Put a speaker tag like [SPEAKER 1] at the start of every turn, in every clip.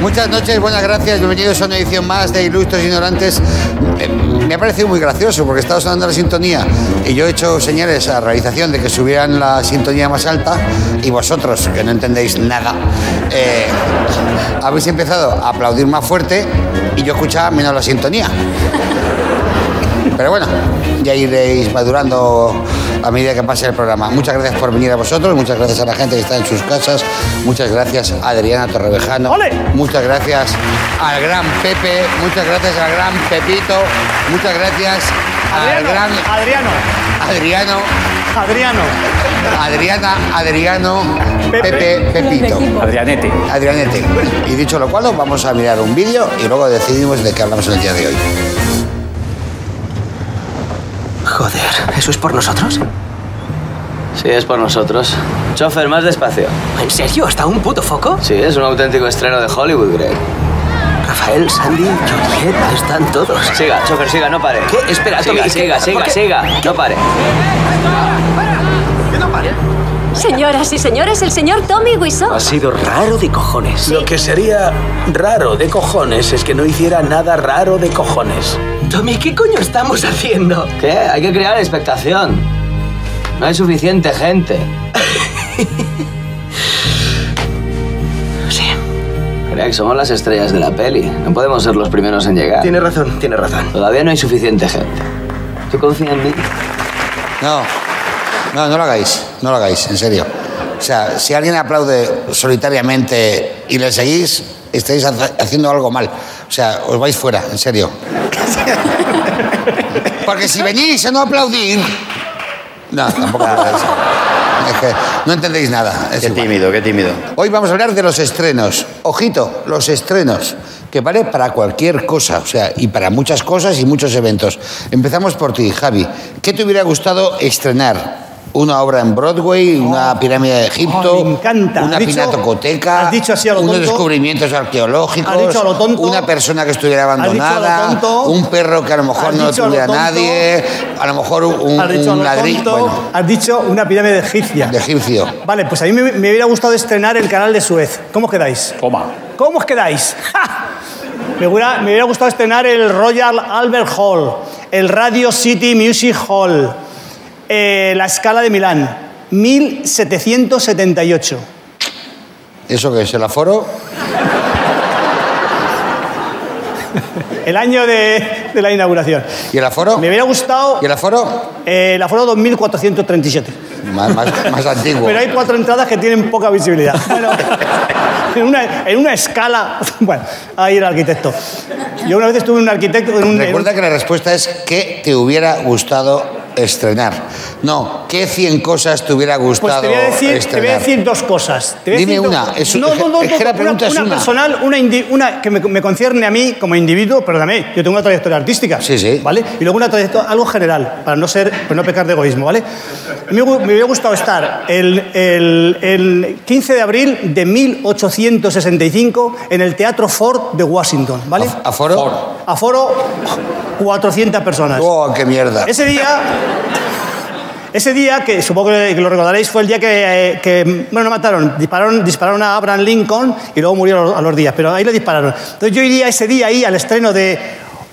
[SPEAKER 1] Muchas noches, buenas gracias. Bienvenidos a una edición más de Ilustres Ignorantes. Eh, Me ha parecido muy gracioso porque estaba sonando la sintonía y yo he hecho señales a realización de que subieran la sintonía más alta y vosotros, que no entendéis nada, eh, habéis empezado a aplaudir más fuerte y yo escuchaba menos la sintonía. Pero bueno, ya iréis madurando a medida que pase el programa. Muchas gracias por venir a vosotros, muchas gracias a la gente que está en sus casas, muchas gracias a Adriana Torrevejano,
[SPEAKER 2] ¡Ole!
[SPEAKER 1] muchas gracias al gran Pepe, muchas gracias al gran Pepito, muchas gracias al
[SPEAKER 2] Adriano,
[SPEAKER 1] gran
[SPEAKER 2] Adriano,
[SPEAKER 1] Adriano,
[SPEAKER 2] Adriano,
[SPEAKER 1] Adriana, Adriano,
[SPEAKER 2] Pepe.
[SPEAKER 1] Pepe, Pepito.
[SPEAKER 3] Adrianete.
[SPEAKER 1] Adrianete. Y dicho lo cual, os vamos a mirar un vídeo y luego decidimos de qué hablamos en el día de hoy.
[SPEAKER 4] Joder, ¿eso es por nosotros?
[SPEAKER 5] Sí, es por nosotros. Chofer, más despacio.
[SPEAKER 4] ¿En serio? ¿Hasta un puto foco?
[SPEAKER 5] Sí, es un auténtico estreno de Hollywood, Greg.
[SPEAKER 4] Rafael, Sandy, Juliet, están todos.
[SPEAKER 5] Siga, chofer, siga, no pare.
[SPEAKER 4] ¿Qué? Espera,
[SPEAKER 5] siga,
[SPEAKER 4] Tommy,
[SPEAKER 5] siga,
[SPEAKER 4] ¿qué?
[SPEAKER 5] siga,
[SPEAKER 4] ¿Por qué?
[SPEAKER 5] siga, no pare.
[SPEAKER 6] Señoras y señores, el señor Tommy Wiseau.
[SPEAKER 4] Ha sido raro de cojones. Lo que sería raro de cojones es que no hiciera nada raro de cojones. Tommy, ¿qué coño estamos haciendo?
[SPEAKER 5] ¿Qué? Hay que crear expectación. No hay suficiente gente.
[SPEAKER 4] Sí.
[SPEAKER 5] Greg, somos las estrellas de la peli. No podemos ser los primeros en llegar.
[SPEAKER 4] Tiene razón, tiene razón.
[SPEAKER 5] Todavía no hay suficiente gente. ¿Tú confías en mí?
[SPEAKER 1] No, no, no lo hagáis, no lo hagáis, en serio. O sea, si alguien aplaude solitariamente y le seguís, estáis hace- haciendo algo mal. O sea, os vais fuera, en serio. Porque si venís a no aplaudir... No, tampoco lo hagáis. Es que no entendéis nada. es
[SPEAKER 7] Qué
[SPEAKER 1] igual.
[SPEAKER 7] tímido, qué tímido.
[SPEAKER 1] Hoy vamos a hablar de los estrenos. Ojito, los estrenos, que vale para cualquier cosa, o sea, y para muchas cosas y muchos eventos. Empezamos por ti, Javi. ¿Qué te hubiera gustado estrenar? Una obra en Broadway, una pirámide de Egipto,
[SPEAKER 2] Oh, me encanta.
[SPEAKER 1] una
[SPEAKER 2] Has dicho-
[SPEAKER 1] pinacoteca,
[SPEAKER 2] has dicho así a lo
[SPEAKER 1] unos
[SPEAKER 2] tonto.
[SPEAKER 1] descubrimientos arqueológicos,
[SPEAKER 2] Has dicho a lo tonto.
[SPEAKER 1] una persona que estuviera
[SPEAKER 2] Has dicho a lo
[SPEAKER 1] abandonada,
[SPEAKER 2] tonto.
[SPEAKER 1] un perro que a lo mejor
[SPEAKER 2] Has
[SPEAKER 1] no
[SPEAKER 2] dicho a lo
[SPEAKER 1] tuviera
[SPEAKER 2] tonto.
[SPEAKER 1] nadie, a lo mejor un,
[SPEAKER 2] has dicho
[SPEAKER 1] un
[SPEAKER 2] algo
[SPEAKER 1] ladrillo
[SPEAKER 2] tonto,
[SPEAKER 1] bueno,
[SPEAKER 2] has dicho una pirámide egipcia.
[SPEAKER 1] de egipcio.
[SPEAKER 2] Vale, pues a mí me, me hubiera gustado estrenar el canal de Suez. ¿Cómo os quedáis?
[SPEAKER 3] Toma.
[SPEAKER 2] ¿Cómo os quedáis? ¡Ja! Me hubiera, me hubiera gustado estrenar el Royal Albert Hall, el Radio City Music Hall, eh, la escala de Milán, 1778.
[SPEAKER 1] ¿Eso qué es? ¿El aforo?
[SPEAKER 2] El año de, de la inauguración.
[SPEAKER 1] ¿Y el aforo?
[SPEAKER 2] Me hubiera gustado
[SPEAKER 1] ¿Y el aforo?
[SPEAKER 2] eh, el aforo 2437.
[SPEAKER 1] Más, más- más antiguo.
[SPEAKER 2] Pero hay cuatro entradas que tienen poca visibilidad. Bueno, en, una, en una escala. Bueno, ahí el arquitecto. Yo una vez estuve en un arquitecto. En un, en un-
[SPEAKER 1] Recuerda que la respuesta es ¿qué te hubiera gustado estrenar? No, ¿qué 100 cosas te hubiera
[SPEAKER 2] pues
[SPEAKER 1] gustado
[SPEAKER 2] te voy, a decir, te
[SPEAKER 1] estrenar?
[SPEAKER 2] voy a decir dos cosas. Te voy a
[SPEAKER 1] Dime
[SPEAKER 2] decir dos-
[SPEAKER 1] una, es-
[SPEAKER 2] no, no, no,
[SPEAKER 1] es que la
[SPEAKER 2] no,
[SPEAKER 1] pregunta
[SPEAKER 2] una,
[SPEAKER 1] es una.
[SPEAKER 2] personal, una, indi- una que me, me concierne a mí como individuo, perdóname, yo tengo una trayectoria artística.
[SPEAKER 1] Sí, sí.
[SPEAKER 2] ¿Vale? Y luego una trayectoria, algo general, para no ser, para no pecar de egoísmo, ¿vale? A mí Me, hu- me hubiera gustado estar el, el- el 15 de abril de 1865 en el Teatro Ford de Washington, ¿vale?
[SPEAKER 1] ¿A- ¿Aforo?
[SPEAKER 2] Aforo 400 personas.
[SPEAKER 1] ¡Oh, qué mierda!
[SPEAKER 2] Ese día. Ese día, que supongo que lo recordaréis, fue el día que, eh, que, bueno, no mataron, dispararon, dispararon a Abraham Lincoln y luego murió a los, a los días, pero ahí le dispararon. Entonces yo iría ese día ahí al estreno de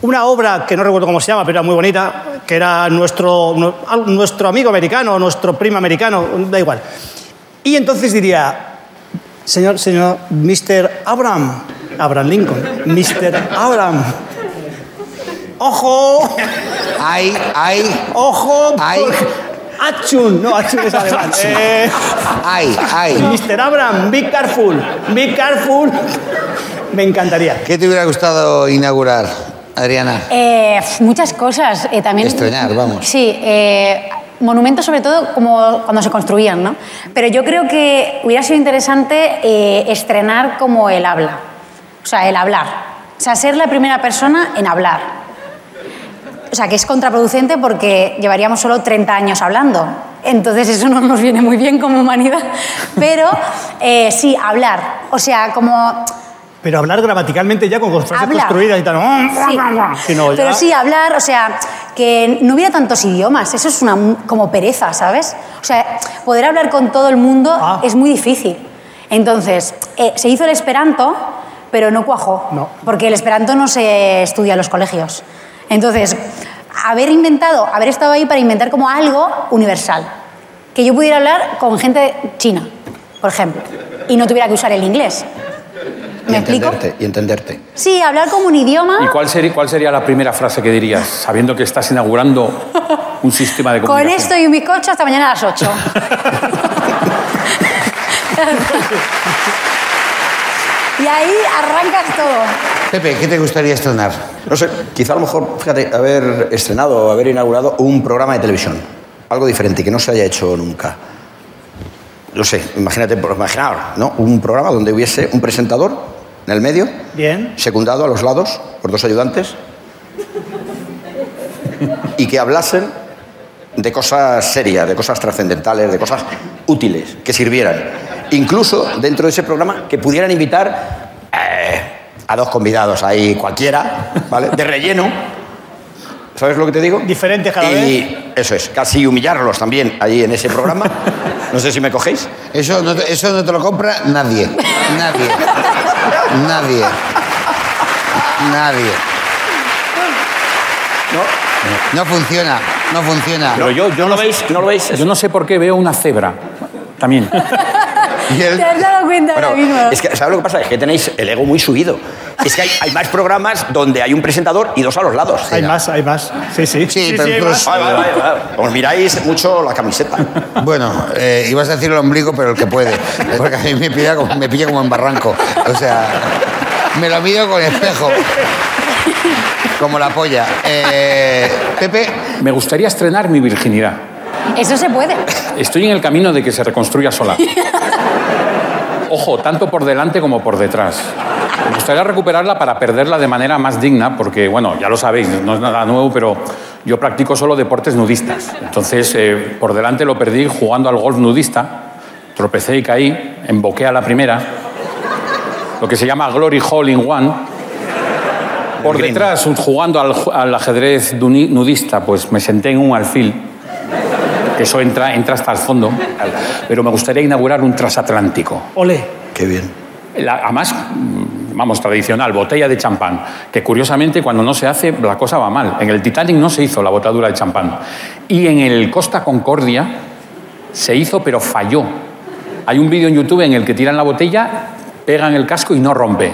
[SPEAKER 2] una obra que no recuerdo cómo se llama, pero era muy bonita, que era nuestro, nu- al- nuestro amigo americano, nuestro primo americano, da igual. Y entonces diría, señor, señor, Mr. Abraham, Abraham Lincoln, Mr. Abraham, ojo,
[SPEAKER 1] Hay, hay,
[SPEAKER 2] Ojo,
[SPEAKER 1] Ay.
[SPEAKER 2] porque- Achun, no, Achun es alemán. Eh,
[SPEAKER 1] hay, hay.
[SPEAKER 2] Mr. Abraham, be careful, be careful. Me encantaría.
[SPEAKER 1] ¿Qué te hubiera gustado inaugurar, Adriana?
[SPEAKER 8] Eh, pf, muchas cosas. eh, también
[SPEAKER 1] Estrenar, vamos.
[SPEAKER 8] Sí, eh, monumentos sobre todo como cuando se construían, ¿no? Pero yo creo que hubiera sido interesante eh, estrenar como el habla, o sea, el hablar. O sea, ser la primera persona en hablar. O sea, que es contraproducente porque llevaríamos solo 30 años hablando. Entonces eso no nos viene muy bien como humanidad. Pero eh, sí, hablar. O sea, como
[SPEAKER 2] Pero hablar gramaticalmente ya con frases
[SPEAKER 8] Habla.
[SPEAKER 2] construidas y tal.
[SPEAKER 8] Sí.
[SPEAKER 2] Que no, ya-
[SPEAKER 8] Pero sí, hablar, o sea, que no hubiera tantos idiomas, eso es una mu- como pereza, ¿sabes? O sea, poder hablar con todo el mundo
[SPEAKER 2] Ah.
[SPEAKER 8] es muy difícil. Entonces, eh, se hizo el esperanto, pero no cuajó.
[SPEAKER 2] No.
[SPEAKER 8] Porque el esperanto no se estudia en los colegios. Entonces, haber inventado, haber estado ahí para inventar como algo universal. Que yo pudiera hablar con gente china, por ejemplo, y no tuviera que usar el inglés.
[SPEAKER 1] Y
[SPEAKER 8] ¿Me explico?
[SPEAKER 1] entenderte, y entenderte.
[SPEAKER 8] Sí, hablar como un idioma.
[SPEAKER 9] ¿Y cuál sería, cuál sería la primera frase que dirías, sabiendo que estás inaugurando un sistema de
[SPEAKER 8] Con
[SPEAKER 9] comunicación?
[SPEAKER 8] esto y un bizcocho hasta mañana a las 8. y ahí arrancas todo.
[SPEAKER 10] Pepe, ¿qué te gustaría estrenar?
[SPEAKER 1] No sé, quizá a lo mejor, fíjate, haber estrenado o haber inaugurado un programa de televisión. Algo diferente, que no se haya hecho nunca. No sé, imagínate, por- imaginaos, ¿no? Un programa donde hubiese un presentador en el medio,
[SPEAKER 2] Bien.
[SPEAKER 1] secundado a los lados por dos ayudantes, y que hablasen de cosas serias, de cosas trascendentales, de cosas útiles, que sirvieran. Incluso dentro de ese programa que pudieran invitar eh, a dos convidados ahí cualquiera, ¿vale? De relleno. ¿Sabes lo que te digo?
[SPEAKER 2] Diferentes cada
[SPEAKER 1] y eso es, casi humillarlos también ahí en ese programa. No sé si me cogéis.
[SPEAKER 10] Eso no, te- eso no te lo compra nadie. Nadie. Nadie. Nadie.
[SPEAKER 1] ¿No?
[SPEAKER 10] No funciona. No funciona.
[SPEAKER 9] Pero yo, yo
[SPEAKER 1] ¿No lo veis? ¿No lo veis?
[SPEAKER 9] Yo no sé por qué veo una cebra. También.
[SPEAKER 10] Y él-
[SPEAKER 8] Te has dado cuenta
[SPEAKER 1] Bueno,
[SPEAKER 8] ahora mismo.
[SPEAKER 1] es que, ¿sabes lo que pasa? Es que tenéis el ego muy subido. Es que hay, hay más programas donde hay un presentador y dos a los lados. Ah,
[SPEAKER 2] Hay más, hay más. Sí, sí.
[SPEAKER 10] Sí, pero
[SPEAKER 2] hay
[SPEAKER 10] tú
[SPEAKER 2] más.
[SPEAKER 10] los-
[SPEAKER 1] Vale, vale, vale, vale. Os miráis mucho la camiseta.
[SPEAKER 10] Bueno, eh, ibas a decir el ombligo, pero el que puede. Porque a mí me pilla como, me pilla como en barranco. O sea, me lo mido con espejo. Como la polla. Eh, Pepe,
[SPEAKER 9] Me gustaría estrenar mi virginidad.
[SPEAKER 8] Eso se puede.
[SPEAKER 9] Estoy en el camino de que se reconstruya sola. Ojo, tanto por delante como por detrás. Me gustaría recuperarla para perderla de manera más digna, porque, bueno, ya lo sabéis, no es nada nuevo, pero yo practico solo deportes nudistas. Entonces, eh, por delante lo perdí jugando al golf nudista, tropecé y caí, emboqué a la primera, lo que se llama Glory Hole in One. Por detrás, jugando al, ju- al ajedrez duni- nudista, pues me senté en un alfil eso entra, entra hasta el fondo. Pero me gustaría inaugurar un transatlántico.
[SPEAKER 2] Ole.
[SPEAKER 1] Qué bien.
[SPEAKER 9] La- además, mm, vamos, tradicional, botella de champán. Que curiosamente, cuando no se hace, la cosa va mal. En el Titanic no se hizo la botadura de champán. Y en el Costa Concordia se hizo, pero falló. Hay un vídeo en YouTube en el que tiran la botella, pegan el casco y no rompe.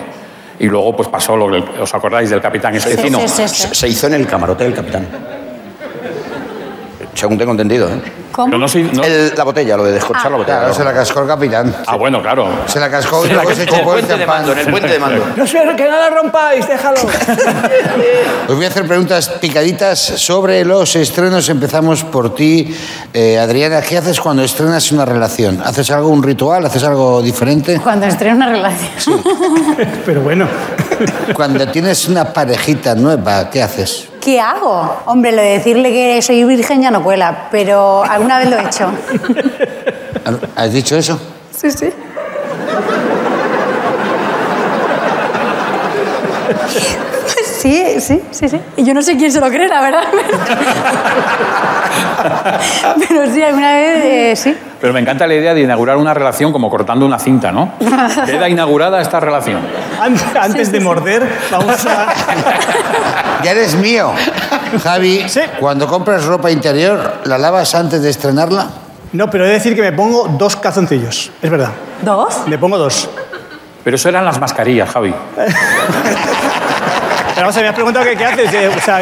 [SPEAKER 9] Y luego, pues pasó lo que os acordáis del capitán este Especino.
[SPEAKER 8] Sí, sí, sí.
[SPEAKER 1] Se, se hizo en el camarote del capitán. Según tengo entendido, ¿eh?
[SPEAKER 8] ¿Cómo?
[SPEAKER 9] Pero no soy- no-
[SPEAKER 1] El- la botella, lo de descorchar la botella.
[SPEAKER 10] claro, se
[SPEAKER 1] claro.
[SPEAKER 10] la cascó el capitán.
[SPEAKER 9] Ah, bueno, claro.
[SPEAKER 10] Se la cascó y luego se chupó el champán.
[SPEAKER 1] puente de mando.
[SPEAKER 11] No sé, que nada rompáis, déjalo.
[SPEAKER 10] Os voy a hacer preguntas picaditas sobre los estrenos. Empezamos por ti, eh, Adriana. ¿Qué haces cuando estrenas una relación? ¿Haces algo, un ritual? ¿Haces algo diferente?
[SPEAKER 8] Cuando estreno una relación.
[SPEAKER 2] Pero bueno.
[SPEAKER 10] Cuando tienes una parejita nueva, ¿qué haces?
[SPEAKER 8] ¿Qué hago? Hombre, lo de decirle que soy virgen ya no cuela, pero alguna vez lo he hecho.
[SPEAKER 10] ¿Has dicho eso?
[SPEAKER 8] Sí, sí. Sí, sí, sí, sí. Y yo no sé quién se lo cree, la verdad. Pero sí, alguna vez eh, sí.
[SPEAKER 9] Pero me encanta la idea de inaugurar una relación como cortando una cinta, ¿no? Queda inaugurada esta relación.
[SPEAKER 2] An- Antes de morder, vamos a...
[SPEAKER 10] Ya eres mío. Javi,
[SPEAKER 2] Sí.
[SPEAKER 10] cuando compras ropa interior, ¿la lavas antes de estrenarla?
[SPEAKER 2] No, pero he de decir que me pongo dos calzoncillos. Es verdad.
[SPEAKER 8] ¿Dos?
[SPEAKER 2] Me pongo dos.
[SPEAKER 9] Pero eso eran las mascarillas, Javi.
[SPEAKER 2] Pero vamos a ver, me has preguntado qué, qué haces. eh, o sea...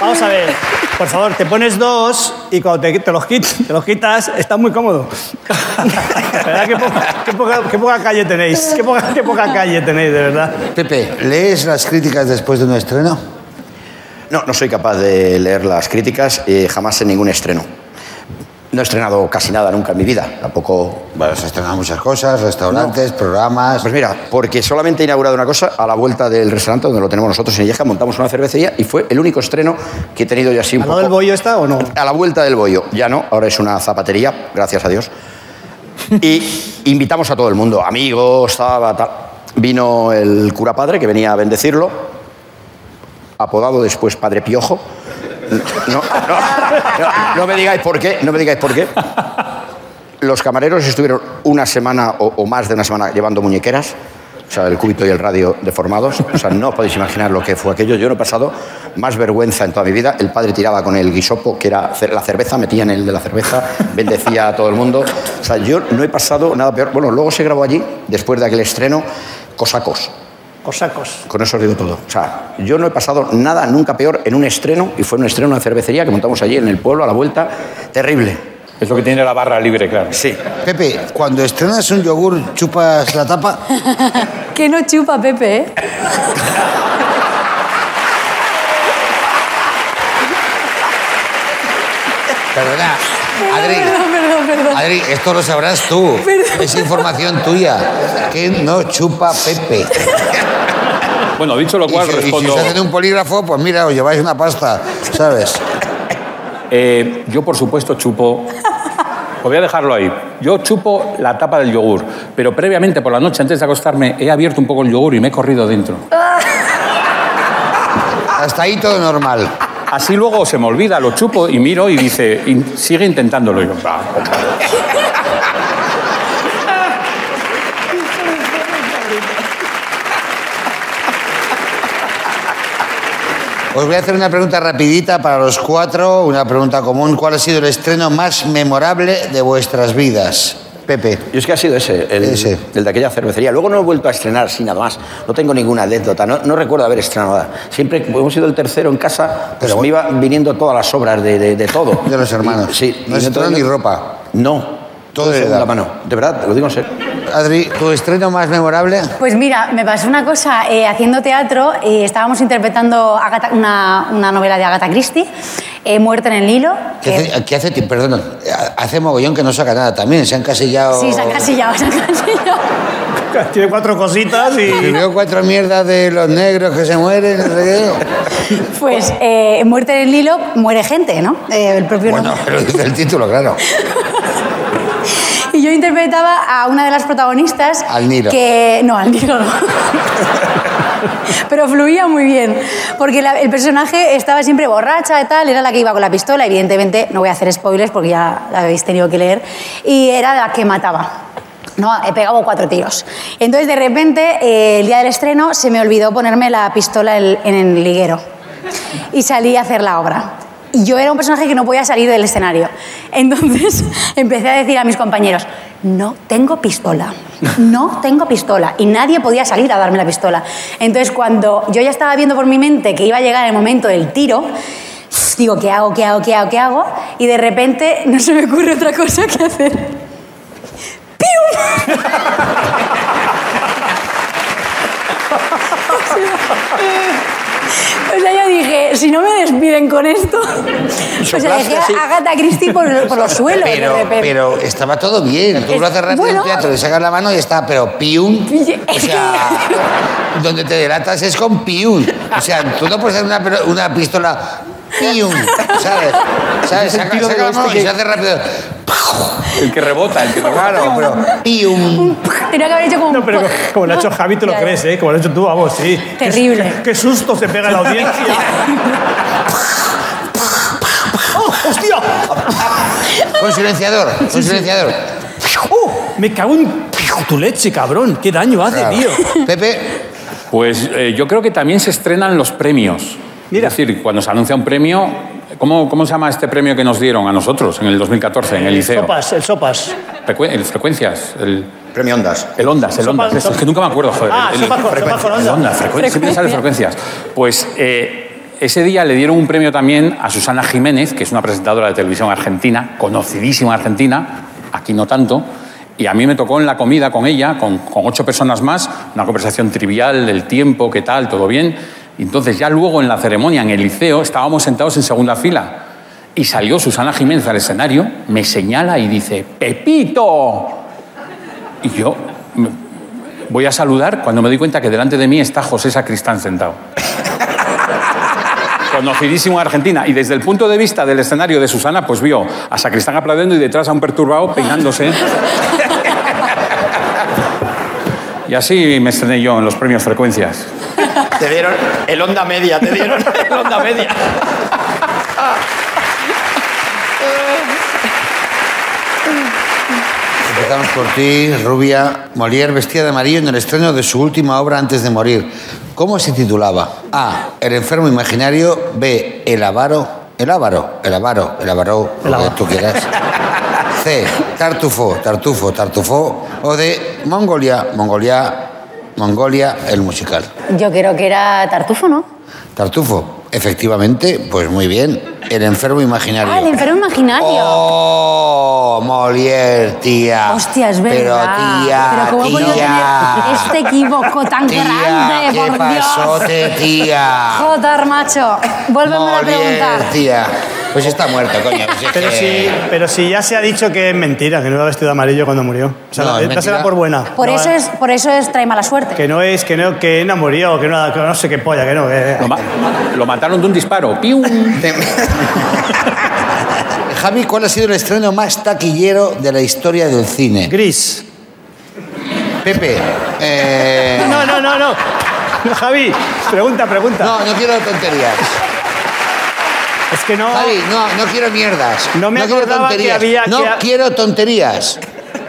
[SPEAKER 2] Vamos a ver, por favor, te pones dos y cuando te, te los, quit- te los quitas, estás muy cómodo. La ¿Verdad? Qué poca, qué poca- qué poca calle tenéis, qué poca, qué poca calle tenéis, de verdad.
[SPEAKER 10] Pepe, ¿lees las críticas después de un estreno?
[SPEAKER 1] No, no soy capaz de leer las críticas eh, jamás en ningún estreno. No he estrenado casi nada nunca en mi vida. Tampoco.
[SPEAKER 10] Bueno, se estrenan muchas cosas, restaurantes, programas.
[SPEAKER 1] Pues mira, porque solamente he inaugurado una cosa a la vuelta del restaurante donde lo tenemos nosotros en Illesca, montamos una cervecería y fue el único estreno que he tenido yo así un
[SPEAKER 2] ¿Al lado
[SPEAKER 1] poco-
[SPEAKER 2] del bollo está o no?
[SPEAKER 1] a la vuelta del bollo. Ya no, ahora es una zapatería, gracias a Dios. Y invitamos a todo el mundo, amigos, estaba tal. Vino el cura padre que venía a bendecirlo, apodado después Padre Piojo. No, no, no, no me digáis por qué, no me digáis por qué. Los camareros estuvieron una semana o, o más de una semana llevando muñequeras, o sea, el cúbito y el radio deformados. O sea, no os podéis imaginar lo que fue aquello. Yo no he pasado más vergüenza en toda mi vida. El padre tiraba con el guisopo, que era cer- la cerveza, metía en el de la cerveza, bendecía a todo el mundo. O sea, yo no he pasado nada peor. Bueno, luego se grabó allí, después de aquel estreno, Cosacos.
[SPEAKER 2] Cosacos.
[SPEAKER 1] Con eso os digo todo. O sea, yo no he pasado nada nunca peor en un estreno, y fue un estreno en una cervecería que montamos allí en el pueblo a la vuelta. Terrible.
[SPEAKER 9] Es lo que tiene la barra libre, claro.
[SPEAKER 1] Sí.
[SPEAKER 10] Pepe, cuando estrenas un yogur, ¿chupas la tapa?
[SPEAKER 8] Que no chupa, Pepe, ¿eh?
[SPEAKER 10] Perdona, Adri,
[SPEAKER 8] Perdón, perdón, perdón.
[SPEAKER 10] Adri, esto lo sabrás tú. Es información tuya. Que no chupa Pepe.
[SPEAKER 9] Bueno, dicho lo
[SPEAKER 10] Y
[SPEAKER 9] cual,
[SPEAKER 10] si, y si
[SPEAKER 9] respondo...
[SPEAKER 10] os hacen un polígrafo, pues mira, os lleváis una pasta, ¿sabes?
[SPEAKER 9] Eh, yo, por supuesto, chupo. Os voy a dejarlo ahí. Yo chupo la tapa del yogur, pero previamente por la noche, antes de acostarme, he abierto un poco el yogur y me he corrido dentro.
[SPEAKER 10] Hasta ahí todo normal.
[SPEAKER 9] Así luego se me olvida, lo chupo y miro y dice, "In- sigue intentándolo. Y yo, "Va, hombre".
[SPEAKER 10] Os voy a hacer una pregunta rapidita para los cuatro, una pregunta común. ¿Cuál ha sido el estreno más memorable de vuestras vidas? Pepe.
[SPEAKER 1] Yo es que ha sido ese, el,
[SPEAKER 10] Ese.
[SPEAKER 1] el de aquella cervecería. Luego no he vuelto a estrenar, sin nada más. No tengo ninguna anécdota, no, no recuerdo haber estrenado nada. Siempre, como hemos sido el tercero en casa, pues
[SPEAKER 10] Pero
[SPEAKER 1] me iban viniendo todas las obras de, de- de todo.
[SPEAKER 10] De los hermanos.
[SPEAKER 1] Y- sí.
[SPEAKER 10] No
[SPEAKER 1] y
[SPEAKER 10] se estrenó
[SPEAKER 1] entonces-
[SPEAKER 10] ni ropa.
[SPEAKER 1] No.
[SPEAKER 10] Todo
[SPEAKER 1] de
[SPEAKER 10] heredado.
[SPEAKER 1] segunda mano. De verdad, te lo digo en serio.
[SPEAKER 10] Adri, ¿tu estreno más memorable?
[SPEAKER 8] Pues mira, me pasó una cosa. eh, haciendo teatro eh, estábamos interpretando Agatha- una, una novela de Agatha Christie, eh, Muerte en el Nilo.
[SPEAKER 10] Que
[SPEAKER 8] que-
[SPEAKER 10] hace, que hace tiempo- perdón, hace mogollón que no saca nada también, se han casillado.
[SPEAKER 8] Sí, se ha encasillado, se ha encasillado.
[SPEAKER 2] Tiene cuatro cositas y...
[SPEAKER 10] Escribió cuatro mierdas de los negros que se mueren, no sé qué.
[SPEAKER 8] Pues eh, en Muerte en el Nilo muere gente, ¿no? Eh, el propio
[SPEAKER 10] Bueno,
[SPEAKER 8] nombre.
[SPEAKER 10] "Ah, pero dice el título, claro.
[SPEAKER 8] Y yo interpretaba a una de las protagonistas.
[SPEAKER 10] Al Nilo.
[SPEAKER 8] Que, no, al Nilo no. Pero fluía muy bien, porque la- el personaje estaba siempre borracha y tal, era la que iba con la pistola, evidentemente, no voy a hacer spoilers porque ya la habéis tenido que leer, y era la que mataba. No, he pegado cuatro tiros. Entonces, de repente, eh, el día del estreno, se me olvidó ponerme la pistola en- en el liguero y salí a hacer la obra. Y yo era un personaje que no podía salir del escenario. Entonces empecé a decir a mis compañeros, no tengo pistola, no tengo pistola. Y nadie podía salir a darme la pistola. Entonces cuando yo ya estaba viendo por mi mente que iba a llegar el momento del tiro, digo, ¿qué hago, qué hago, qué hago, qué hago? Y de repente no se me ocurre otra cosa que hacer. O sea, yo dije, si no me despiden con esto, o sea, dejé
[SPEAKER 1] así.
[SPEAKER 8] a Agatha Christie por, por los suelos
[SPEAKER 10] Pero,
[SPEAKER 8] de repente.
[SPEAKER 10] pero estaba todo bien. Tú lo haces rápido
[SPEAKER 8] Bueno.
[SPEAKER 10] en teatro, le sacas la mano y está, pero piun. O
[SPEAKER 8] Es que-
[SPEAKER 10] sea, donde te delatas es con piun. O sea, tú no puedes hacer una, pero- una pistola piun, ¿sabes? ¿Sabes? Saca,
[SPEAKER 1] sentido
[SPEAKER 10] saca la
[SPEAKER 1] de
[SPEAKER 10] mano
[SPEAKER 1] este
[SPEAKER 10] y
[SPEAKER 1] que-
[SPEAKER 10] se hace rápido.
[SPEAKER 9] El que rebota, el que rebota.
[SPEAKER 10] Claro, pero piun.
[SPEAKER 8] Tenía que haber hecho como un
[SPEAKER 2] No, pero co- como lo ha hecho Javi, te lo
[SPEAKER 8] Ya, ya.
[SPEAKER 2] crees, ¿eh? Como lo ha hecho tú, vamos, sí.
[SPEAKER 8] Terrible.
[SPEAKER 2] Qué, qué susto se pega la audiencia. ¡Oh, hostia!
[SPEAKER 10] Con silenciador, con silenciador.
[SPEAKER 2] ¡Oh! Me cago en tu leche, cabrón. ¿Qué daño hace,
[SPEAKER 10] Claro.
[SPEAKER 2] tío?
[SPEAKER 10] Pepe,
[SPEAKER 9] Pues eh, yo creo que también se estrenan los premios.
[SPEAKER 2] Mira.
[SPEAKER 9] Es decir, cuando se anuncia un premio, ¿cómo, ¿cómo se llama este premio que nos dieron a nosotros en el 2014, en el liceo?
[SPEAKER 2] Sopas, el sopas.
[SPEAKER 9] Frecu- el frecuencias, el,
[SPEAKER 1] Premio Ondas.
[SPEAKER 9] el ondas, el ondas.
[SPEAKER 2] Sopa-
[SPEAKER 9] Es que nunca me acuerdo, joder.
[SPEAKER 2] Ah,
[SPEAKER 9] el,
[SPEAKER 2] sopa con-
[SPEAKER 9] frecuencias,
[SPEAKER 2] sopa con
[SPEAKER 9] el
[SPEAKER 2] ondas.
[SPEAKER 9] ondas, frecuencias, siempre sale frecuencias. Pues eh, ese día le dieron un premio también a Susana Jiménez, que es una presentadora de televisión argentina, conocidísima argentina, aquí no tanto. Y a mí me tocó en la comida con ella, con, con ocho personas más, una conversación trivial del tiempo, qué tal, todo bien. Y entonces ya luego en la ceremonia, en el liceo, estábamos sentados en segunda fila. Y salió Susana Jiménez al escenario, me señala y dice, Pepito. Y yo me- voy a saludar cuando me doy cuenta que delante de mí está José Sacristán sentado. Conocidísimo de Argentina. Y desde el punto de vista del escenario de Susana, pues vio a Sacristán aplaudiendo y detrás a un perturbado peinándose. Y así me estrené yo en los premios Frecuencias.
[SPEAKER 1] Te dieron el Onda Media, te dieron el Onda Media.
[SPEAKER 10] Empezamos por ti, Rubia. Molière vestida de amarillo en el estreno de su última obra antes de morir. ¿Cómo se titulaba? A. El enfermo imaginario. B. El avaro. El avaro. El avaro. El avaro. Lo que tú quieras. C. Tartufo. Tartufo. Tartufo. O D. Mongolia. Mongolia. Mongolia. El musical.
[SPEAKER 8] Yo creo que era tartufo, ¿no?
[SPEAKER 10] Tartufo. Efectivamente, pues muy bien. El enfermo imaginario.
[SPEAKER 8] Ah, el enfermo imaginario.
[SPEAKER 10] ¡Oh! Molière, tía.
[SPEAKER 8] Hostia, es verdad.
[SPEAKER 10] Pero tía,
[SPEAKER 8] Pero ¿cómo podía tener
[SPEAKER 10] tía.
[SPEAKER 8] este equivoco tan
[SPEAKER 10] Tía,
[SPEAKER 8] grande,
[SPEAKER 10] ¿qué
[SPEAKER 8] por
[SPEAKER 10] pasote,
[SPEAKER 8] Dios?
[SPEAKER 10] tía?
[SPEAKER 8] Joder, macho. Vuélveme a
[SPEAKER 10] Molière,
[SPEAKER 8] preguntar.
[SPEAKER 10] tía. Pues está muerto, coño. pues es
[SPEAKER 2] Pero
[SPEAKER 10] que-
[SPEAKER 2] si, pero si ya se ha dicho que es mentira, que no iba vestido de amarillo cuando murió. O sea,
[SPEAKER 10] No, es
[SPEAKER 2] dásela
[SPEAKER 10] mentira.
[SPEAKER 2] por buena.
[SPEAKER 8] Por,
[SPEAKER 2] No,
[SPEAKER 8] eso
[SPEAKER 2] eh.
[SPEAKER 8] es, por eso es trae mala suerte.
[SPEAKER 2] Que no es, que no, que no murió, que no, que no sé qué polla, que no. que-
[SPEAKER 9] Lo, ma- lo mataron de un disparo. ¡Piu!
[SPEAKER 10] Javi, ¿cuál ha sido el estreno más taquillero de la historia del cine?
[SPEAKER 2] Gris.
[SPEAKER 10] Pepe. eh,
[SPEAKER 2] No, no, no, no. No, Javi, pregunta, pregunta.
[SPEAKER 10] No, no quiero tonterías.
[SPEAKER 2] Es que no.
[SPEAKER 10] Javi, no, no quiero mierdas.
[SPEAKER 2] No me
[SPEAKER 10] quiero
[SPEAKER 2] acordaba que
[SPEAKER 10] tonterías.
[SPEAKER 2] había-
[SPEAKER 10] No
[SPEAKER 2] que ha-
[SPEAKER 10] quiero tonterías.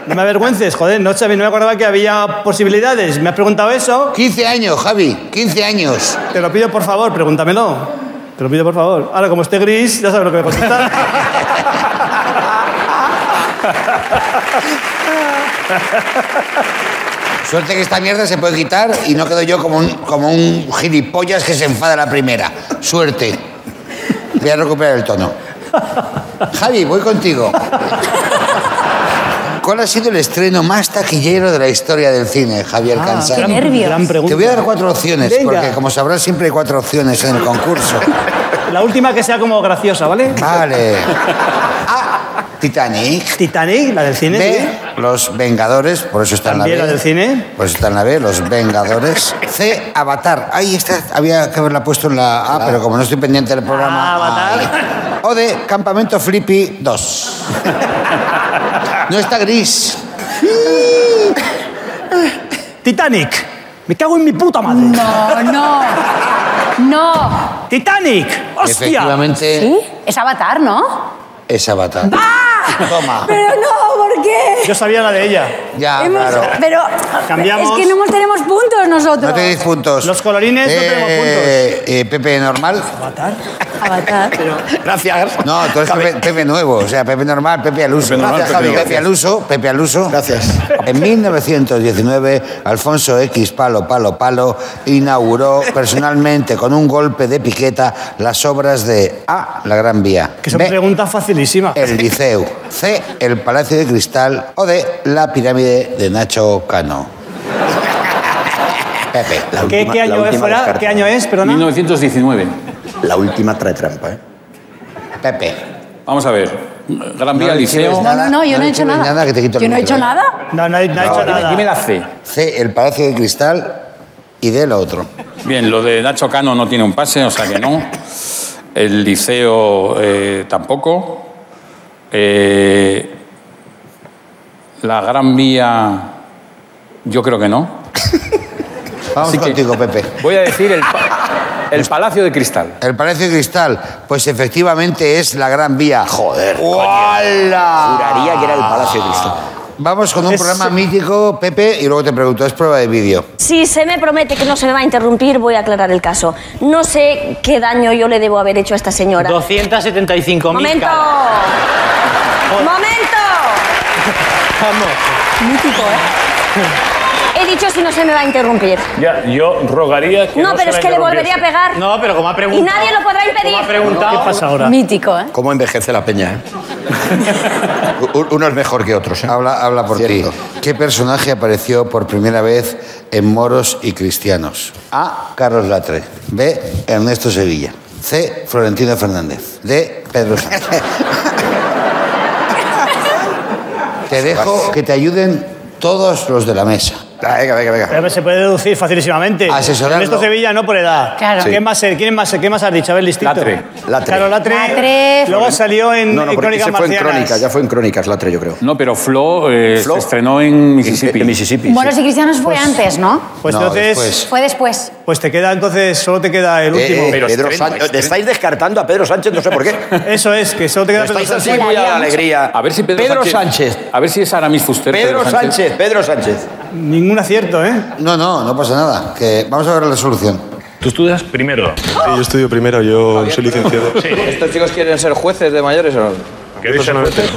[SPEAKER 2] No me avergüences, joder, no, sabía- no me acordaba que había posibilidades. ¿Me has preguntado eso?
[SPEAKER 10] 15 años, Javi, 15 años.
[SPEAKER 2] Te lo pido por favor, pregúntamelo. Te lo pido por favor. Ahora, como esté gris, ya sabes lo que me contestar.
[SPEAKER 10] Suerte que esta mierda se puede quitar y no quedo yo como un, como un gilipollas que se enfada a la primera. Suerte. Voy a recuperar el tono. Javi, voy contigo. ¿Cuál ha sido el estreno más taquillero de la historia del cine, Javier Cansado?
[SPEAKER 8] qué nervios.
[SPEAKER 2] Gran
[SPEAKER 10] Te
[SPEAKER 2] Ah, pregunta.
[SPEAKER 10] voy a dar cuatro opciones,
[SPEAKER 2] Venga.
[SPEAKER 10] porque como sabrás siempre hay cuatro opciones en el concurso.
[SPEAKER 2] La última que sea como graciosa, ¿vale?
[SPEAKER 10] Vale. A. Titanic.
[SPEAKER 2] Titanic, la del cine.
[SPEAKER 10] B. Los Vengadores, por eso está en la B.
[SPEAKER 2] También la del cine.
[SPEAKER 10] Por eso está en la B, Los Vengadores. C. Avatar. Ay, esta había que haberla puesto en la A, pero como no estoy pendiente del programa.
[SPEAKER 2] Ah, Avatar.
[SPEAKER 10] ay. O de Campamento Flippy 2. No está gris.
[SPEAKER 2] sí. Titanic. Me cago en mi puta madre.
[SPEAKER 8] No, no. No.
[SPEAKER 2] Titanic. Hostia.
[SPEAKER 10] Efectivamente,
[SPEAKER 8] ¿Sí? Es Avatar, ¿no?
[SPEAKER 10] es Avatar. Toma.
[SPEAKER 8] Pero no, ¿por qué?
[SPEAKER 2] Yo sabía la de ella.
[SPEAKER 10] Ya,
[SPEAKER 8] Hemos-
[SPEAKER 10] claro.
[SPEAKER 8] Pero
[SPEAKER 2] Cambiamos.
[SPEAKER 8] es que no hemos- tenemos puntos nosotros.
[SPEAKER 10] No tenéis puntos.
[SPEAKER 2] Los colorines no tenemos
[SPEAKER 10] eh, Pepe normal.
[SPEAKER 8] Avatar.
[SPEAKER 1] Gracias.
[SPEAKER 10] No, tú eres Pepe, Pepe nuevo, o sea, Pepe normal, Pepe al uso.
[SPEAKER 9] Pepe normal,
[SPEAKER 10] Gracias,
[SPEAKER 9] Pepe
[SPEAKER 10] Javi.
[SPEAKER 9] normal.
[SPEAKER 10] Pepe al uso, Pepe al uso.
[SPEAKER 1] Gracias.
[SPEAKER 10] En 1919, Alfonso X Palo Palo Palo inauguró personalmente con un golpe de piqueta las obras de A. La Gran Vía.
[SPEAKER 2] Que son
[SPEAKER 10] B,
[SPEAKER 2] preguntas facilísimas.
[SPEAKER 10] El Liceu. C. El Palacio de Cristal. O D. La Pirámide de Nacho Cano. Pepe.
[SPEAKER 1] La
[SPEAKER 2] ¿Qué,
[SPEAKER 1] última-
[SPEAKER 2] qué
[SPEAKER 1] la
[SPEAKER 2] año es
[SPEAKER 1] última
[SPEAKER 2] fuera?
[SPEAKER 1] descarta.
[SPEAKER 2] ¿Qué año es? Perdona.
[SPEAKER 9] 1919.
[SPEAKER 1] La última trae trampa, ¿eh?
[SPEAKER 10] Pepe.
[SPEAKER 9] Vamos a ver. Gran Vía
[SPEAKER 10] le
[SPEAKER 9] Liceo.
[SPEAKER 10] quieres
[SPEAKER 8] No, no, no, yo no, he
[SPEAKER 10] le
[SPEAKER 8] hecho
[SPEAKER 10] quieres
[SPEAKER 8] nada.
[SPEAKER 10] nada, que te quito el
[SPEAKER 8] yo no he hecho
[SPEAKER 10] micro, ¿eh?
[SPEAKER 8] nada.
[SPEAKER 2] No, no, he, no he hecho
[SPEAKER 9] Dime,
[SPEAKER 2] nada.
[SPEAKER 9] dime la C.
[SPEAKER 10] C. El Palacio de Cristal. Y D. Lo otro.
[SPEAKER 9] Bien, lo de Nacho Cano no tiene un pase, o sea que no. El liceo eh, tampoco. Eh, la Gran Vía, yo creo que no.
[SPEAKER 10] Vamos
[SPEAKER 9] Así que-
[SPEAKER 10] contigo, Pepe.
[SPEAKER 9] Voy a decir el, pa- el Palacio de Cristal.
[SPEAKER 10] El Palacio de Cristal, pues efectivamente es la Gran Vía. Joder. ¡Hola!
[SPEAKER 1] Juraría que era el Palacio de Cristal.
[SPEAKER 10] Vamos con un
[SPEAKER 2] Es-
[SPEAKER 10] programa mítico, Pepe, y luego te pregunto, es prueba de vídeo.
[SPEAKER 6] Si se me promete que no se me va a interrumpir, voy a aclarar el caso. No sé qué daño yo le debo haber hecho a esta señora.
[SPEAKER 5] 275.000
[SPEAKER 6] ¡Momento! ¡Momento!
[SPEAKER 5] Vamos.
[SPEAKER 6] Mítico, ¿eh? He dicho si no se me va a interrumpir.
[SPEAKER 12] Ya, yo rogaría que.
[SPEAKER 6] no,
[SPEAKER 12] se
[SPEAKER 6] pero es
[SPEAKER 12] me
[SPEAKER 6] que le volvería a
[SPEAKER 12] interrumpiese.
[SPEAKER 6] pegar.
[SPEAKER 5] No, pero como ha
[SPEAKER 6] y
[SPEAKER 5] preguntado...
[SPEAKER 6] nadie lo podrá
[SPEAKER 5] Como ha
[SPEAKER 6] impedir.
[SPEAKER 5] preguntado...
[SPEAKER 2] ¿Qué pasa ahora?
[SPEAKER 8] Mítico, ¿eh?
[SPEAKER 1] ¿Cómo envejece la peña, eh? U- Uno es mejor que otros. ¿eh?
[SPEAKER 10] Habla, habla por ti.
[SPEAKER 1] Cierto.
[SPEAKER 10] ¿Qué personaje apareció por primera vez en Moros y Cristianos? A. Carlos Latre. B. Ernesto Sevilla. C. Florentino Fernández. D. Pedro Sánchez. te dejo que te ayuden todos los de la mesa.
[SPEAKER 1] Venga, venga, venga.
[SPEAKER 2] Pero se puede deducir facilísimamente.
[SPEAKER 1] Asesorarlo.
[SPEAKER 2] Ernesto Sevilla no por edad.
[SPEAKER 8] Claro.
[SPEAKER 1] Sí.
[SPEAKER 2] ¿Quién más, ¿Quién más, ¿Quién más has dicho? A ver, listito.
[SPEAKER 1] Latre. Latre.
[SPEAKER 2] Claro, Latre.
[SPEAKER 8] Latre.
[SPEAKER 2] Luego salió en,
[SPEAKER 1] No, no,
[SPEAKER 2] en
[SPEAKER 1] porque
[SPEAKER 2] Crónicas
[SPEAKER 1] ese fue en
[SPEAKER 2] Marcianas.
[SPEAKER 1] Crónicas, ya fue en Crónicas, Latre, yo creo.
[SPEAKER 9] No, pero Flo, eh,
[SPEAKER 1] Flo.
[SPEAKER 9] se estrenó en Mississippi.
[SPEAKER 1] En Mississippi.
[SPEAKER 8] Moros y cristianos fue antes, ¿no?
[SPEAKER 2] Pues
[SPEAKER 1] No,
[SPEAKER 2] entonces,
[SPEAKER 1] después.
[SPEAKER 8] Fue después.
[SPEAKER 2] pues te queda entonces, solo te queda el último.
[SPEAKER 1] Eh, eh,
[SPEAKER 9] Pero
[SPEAKER 1] Pedro
[SPEAKER 9] estreno,
[SPEAKER 1] Sánchez-
[SPEAKER 9] estreno.
[SPEAKER 1] te estáis descartando a Pedro Sánchez, no sé por qué.
[SPEAKER 2] Eso es, que solo te queda
[SPEAKER 1] Pero eh. estáis
[SPEAKER 2] Pedro
[SPEAKER 1] así
[SPEAKER 2] Sánchez.
[SPEAKER 1] muy a la alegría.
[SPEAKER 9] A ver si Pedro,
[SPEAKER 1] Sánchez.
[SPEAKER 9] A ver si es Aramis Fuster.
[SPEAKER 1] Pedro Sánchez, Pedro Sánchez.
[SPEAKER 2] Ningún acierto, ¿eh?
[SPEAKER 10] No, no, no pasa nada. Que vamos a ver la solución.
[SPEAKER 12] Tú estudias primero.
[SPEAKER 13] yo estudio primero, yo soy licenciado.
[SPEAKER 5] ¿Estos chicos quieren ser jueces de mayores o no?
[SPEAKER 12] ¿Queréis ser jueces?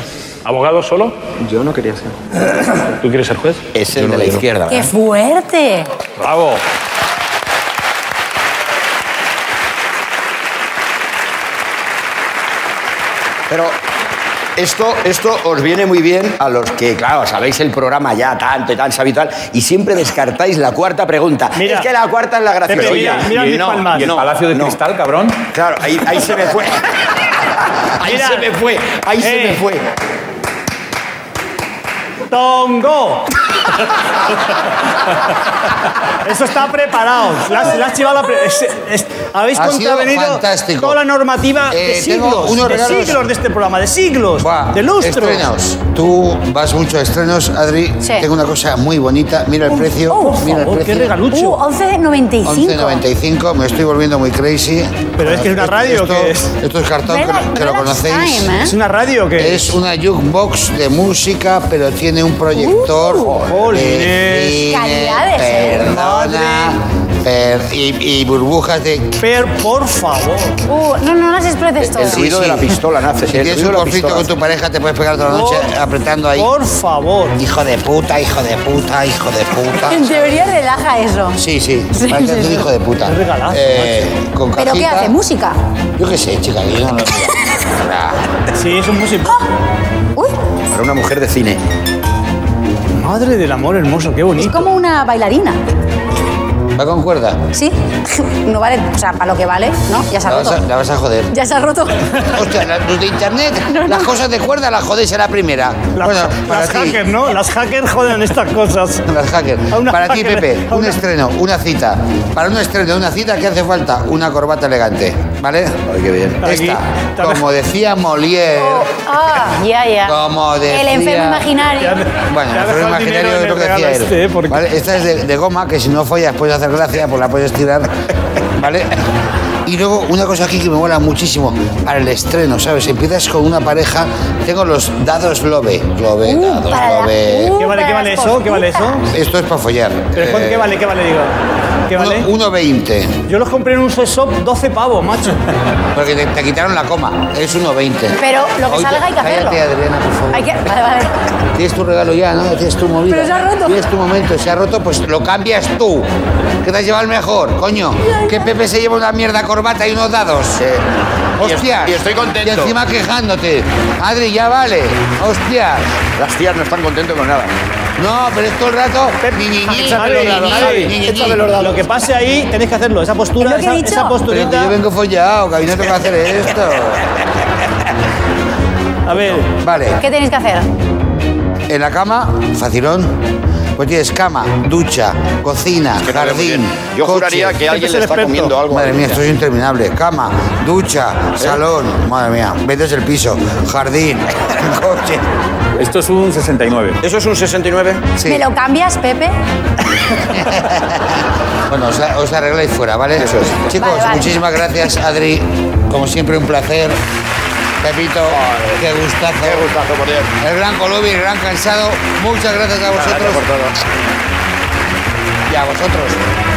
[SPEAKER 12] ¿Abogado solo?
[SPEAKER 5] Yo no quería ser.
[SPEAKER 12] ¿Tú quieres ser juez?
[SPEAKER 1] Es el de la izquierda.
[SPEAKER 8] ¡Qué fuerte!
[SPEAKER 9] Bravo.
[SPEAKER 1] Pero esto, esto os viene muy bien a los que, claro, sabéis el programa ya tanto y tan habitual y siempre descartáis la cuarta pregunta.
[SPEAKER 2] Mira.
[SPEAKER 1] es que la cuarta es la graciosa.
[SPEAKER 2] Pepe, mira, mira
[SPEAKER 1] Y
[SPEAKER 2] mis
[SPEAKER 1] no,
[SPEAKER 2] palmas.
[SPEAKER 9] ¿Y el
[SPEAKER 1] no,
[SPEAKER 9] Palacio de
[SPEAKER 1] no.
[SPEAKER 9] Cristal, cabrón?
[SPEAKER 1] Claro, ahí, ahí se me fue. Ahí
[SPEAKER 2] Mira.
[SPEAKER 1] se me fue, ahí se
[SPEAKER 2] Eh.
[SPEAKER 1] me fue.
[SPEAKER 2] ¡Tongo! Eso está preparado. La, has- la has llevado a la pre- es- es- Habéis
[SPEAKER 10] Ha sido
[SPEAKER 2] contravenido
[SPEAKER 10] fantástico.
[SPEAKER 2] toda la normativa de
[SPEAKER 10] Eh, tengo
[SPEAKER 2] siglos.
[SPEAKER 10] unos
[SPEAKER 2] de
[SPEAKER 10] regalos.
[SPEAKER 2] siglos de este programa, de siglos,
[SPEAKER 10] Buah,
[SPEAKER 2] de lustros.
[SPEAKER 10] Estrenos. Tú vas mucho a estrenos, Adri.
[SPEAKER 8] Sí.
[SPEAKER 10] Tengo una cosa muy bonita. Mira el precio.
[SPEAKER 8] oh, por
[SPEAKER 10] mira
[SPEAKER 2] Oh,
[SPEAKER 10] el
[SPEAKER 2] ¡Qué
[SPEAKER 10] precio.
[SPEAKER 2] regalucho!
[SPEAKER 8] Uh, 11.95.
[SPEAKER 10] 11.95, me estoy volviendo muy crazy.
[SPEAKER 2] ¿Pero es que es una radio o
[SPEAKER 10] esto,
[SPEAKER 2] qué es?
[SPEAKER 10] Esto es cartón,
[SPEAKER 8] Relax-
[SPEAKER 10] que, que lo
[SPEAKER 8] relax
[SPEAKER 10] conocéis.
[SPEAKER 8] time, ¿eh?
[SPEAKER 2] ¿Es una radio que
[SPEAKER 10] Es una jukebox de música, pero tiene un proyector.
[SPEAKER 8] Uh,
[SPEAKER 2] jolines.
[SPEAKER 8] Calidades, ¿eh?
[SPEAKER 10] Perdona. per- y, y burbujas de.
[SPEAKER 2] Per, por favor.
[SPEAKER 8] Uh, no, no las explotes
[SPEAKER 1] El
[SPEAKER 8] todas.
[SPEAKER 10] Sí,
[SPEAKER 1] ruido
[SPEAKER 10] sí.
[SPEAKER 1] de la pistola nace.
[SPEAKER 10] Si
[SPEAKER 1] el
[SPEAKER 10] tienes
[SPEAKER 1] ruido
[SPEAKER 10] un
[SPEAKER 1] de la
[SPEAKER 10] conflicto
[SPEAKER 1] pistola.
[SPEAKER 10] con tu pareja, te puedes pegar toda la noche
[SPEAKER 2] Por-
[SPEAKER 10] apretando ahí.
[SPEAKER 2] Por favor.
[SPEAKER 10] Hijo de puta, hijo de puta, hijo de puta.
[SPEAKER 8] En teoría relaja eso.
[SPEAKER 10] Sí, sí,
[SPEAKER 8] Sí,
[SPEAKER 10] parece
[SPEAKER 8] sí,
[SPEAKER 10] un
[SPEAKER 8] sí.
[SPEAKER 10] hijo de puta. Eh,
[SPEAKER 2] Qué regalazo,
[SPEAKER 10] con
[SPEAKER 8] ¿Pero qué
[SPEAKER 10] cajita.
[SPEAKER 8] hace? ¿Música?
[SPEAKER 10] Yo qué sé, chica, yo no lo
[SPEAKER 2] Sí, es un músico.
[SPEAKER 8] Uy,
[SPEAKER 1] Para una mujer de cine.
[SPEAKER 2] Madre del amor hermoso, qué
[SPEAKER 8] es
[SPEAKER 2] bonito.
[SPEAKER 8] como una bailarina,
[SPEAKER 10] Va con cuerda.
[SPEAKER 8] ¿sí? No vale, o sea, para lo que vale, ¿no? Ya se
[SPEAKER 10] La
[SPEAKER 8] ha
[SPEAKER 10] vas, a,
[SPEAKER 8] roto.
[SPEAKER 10] la vas a joder.
[SPEAKER 8] Ya se ha roto.
[SPEAKER 10] Hostia, la- los de internet, las cosas de cuerda las jodéis a la primera.
[SPEAKER 2] Las,
[SPEAKER 10] bueno, para
[SPEAKER 2] las
[SPEAKER 10] ti.
[SPEAKER 2] hackers, ¿no? Las hackers joden estas cosas.
[SPEAKER 10] Las hackers.
[SPEAKER 2] A una
[SPEAKER 10] Para ti,
[SPEAKER 2] hacker,
[SPEAKER 10] Pepe,
[SPEAKER 2] a
[SPEAKER 10] un
[SPEAKER 2] una-
[SPEAKER 10] estreno, una cita. Para un estreno, una cita, ¿qué hace falta? Una corbata elegante, ¿vale?
[SPEAKER 1] Ay, qué bien.
[SPEAKER 2] Aquí. Oh,
[SPEAKER 10] Esta, como decía Molière,
[SPEAKER 8] Ah, ya, ya.
[SPEAKER 10] como decía...
[SPEAKER 8] El enfermo imaginario.
[SPEAKER 10] Bueno,
[SPEAKER 2] Ya
[SPEAKER 10] el
[SPEAKER 2] dejó
[SPEAKER 10] enfermo
[SPEAKER 2] el
[SPEAKER 10] imaginario
[SPEAKER 2] dinero en
[SPEAKER 10] es lo
[SPEAKER 2] el
[SPEAKER 10] que decía
[SPEAKER 2] regalo
[SPEAKER 10] él.
[SPEAKER 2] este, ¿eh? Porque-
[SPEAKER 10] ¿vale? Esta es de, de goma, que si no follas puedes hacer gracia, pues la puedes tirar, ¿vale? Y luego una cosa aquí que me mola muchísimo para el estreno, ¿sabes? Empiezas con una pareja, tengo los dados Love, Love,
[SPEAKER 8] Uh,
[SPEAKER 10] dados
[SPEAKER 8] para la-
[SPEAKER 10] Love.
[SPEAKER 8] uh,
[SPEAKER 2] ¿Qué vale, qué vale
[SPEAKER 8] las
[SPEAKER 2] eso? ¿Qué vale eso?
[SPEAKER 8] cositas.
[SPEAKER 10] Esto es para follar.
[SPEAKER 2] ¿Pero cuánto- ¿Qué vale, qué vale, digo? ¿Qué vale?
[SPEAKER 10] 1,20,
[SPEAKER 2] Yo los compré en un sex shop 12 pavos, macho.
[SPEAKER 10] porque te, te quitaron la coma, es 1,20.
[SPEAKER 8] Pero lo que
[SPEAKER 10] Oye,
[SPEAKER 8] salga hay que hacerlo.
[SPEAKER 10] Cállate, Adriana, por favor.
[SPEAKER 8] Hay que... Vale, vale.
[SPEAKER 10] Tienes tu regalo ya, ¿no? Tienes tu movida.
[SPEAKER 8] Pero se ha roto.
[SPEAKER 10] Tienes tu momento, se ha roto, pues lo cambias tú. Que te has llevado el mejor, coño. Que Pepe se lleva una mierda corbata y unos dados. Hostias.
[SPEAKER 1] Y estoy contento.
[SPEAKER 10] Y encima quejándote. Adri, ya vale. Hostias.
[SPEAKER 1] Las tías no están contentas con nada.
[SPEAKER 10] No, pero es todo el rato. Ni, ni, ni,
[SPEAKER 2] Échame los
[SPEAKER 10] ni,
[SPEAKER 2] dados,
[SPEAKER 10] ni,
[SPEAKER 2] Javi.
[SPEAKER 10] ni, ni, ni.
[SPEAKER 2] Échame los dados. Lo que pase ahí, tenéis que hacerlo. Esa
[SPEAKER 8] Es
[SPEAKER 2] postura,
[SPEAKER 8] lo que he
[SPEAKER 2] esa,
[SPEAKER 8] dicho.
[SPEAKER 2] esa
[SPEAKER 10] Pero que yo
[SPEAKER 2] posturita.
[SPEAKER 10] vengo follado, que a mí no tengo que hacer esto.
[SPEAKER 2] A ver,
[SPEAKER 10] Vale.
[SPEAKER 8] ¿Qué tenéis que hacer?
[SPEAKER 10] En la cama, facilón. Pues tienes cama, ducha, cocina,
[SPEAKER 1] Que no veo muy
[SPEAKER 10] jardín.
[SPEAKER 1] bien. Yo
[SPEAKER 10] coche.
[SPEAKER 1] juraría que alguien
[SPEAKER 2] es
[SPEAKER 1] le
[SPEAKER 2] el
[SPEAKER 1] está
[SPEAKER 2] experto.
[SPEAKER 1] comiendo algo. a
[SPEAKER 10] Madre
[SPEAKER 1] la
[SPEAKER 10] mía,
[SPEAKER 1] niña.
[SPEAKER 10] esto es interminable. Cama, ducha, salón. Madre mía, vendes el piso, jardín, coche.
[SPEAKER 9] Esto es un 69.
[SPEAKER 1] ¿Eso es un 69?
[SPEAKER 10] Sí.
[SPEAKER 8] ¿Me lo cambias, Pepe?
[SPEAKER 10] Bueno, os, os arregláis fuera, ¿vale?
[SPEAKER 1] Eso es.
[SPEAKER 10] Chicos,
[SPEAKER 8] Vale, vale.
[SPEAKER 10] muchísimas gracias, Adri. Como siempre, un placer. Pepito, qué gustazo.
[SPEAKER 1] Qué gustazo, por Dios.
[SPEAKER 10] El gran Colubi, el gran cansado. Muchas gracias a
[SPEAKER 1] Gracias
[SPEAKER 10] vosotros
[SPEAKER 1] por todo.
[SPEAKER 10] y a vosotros.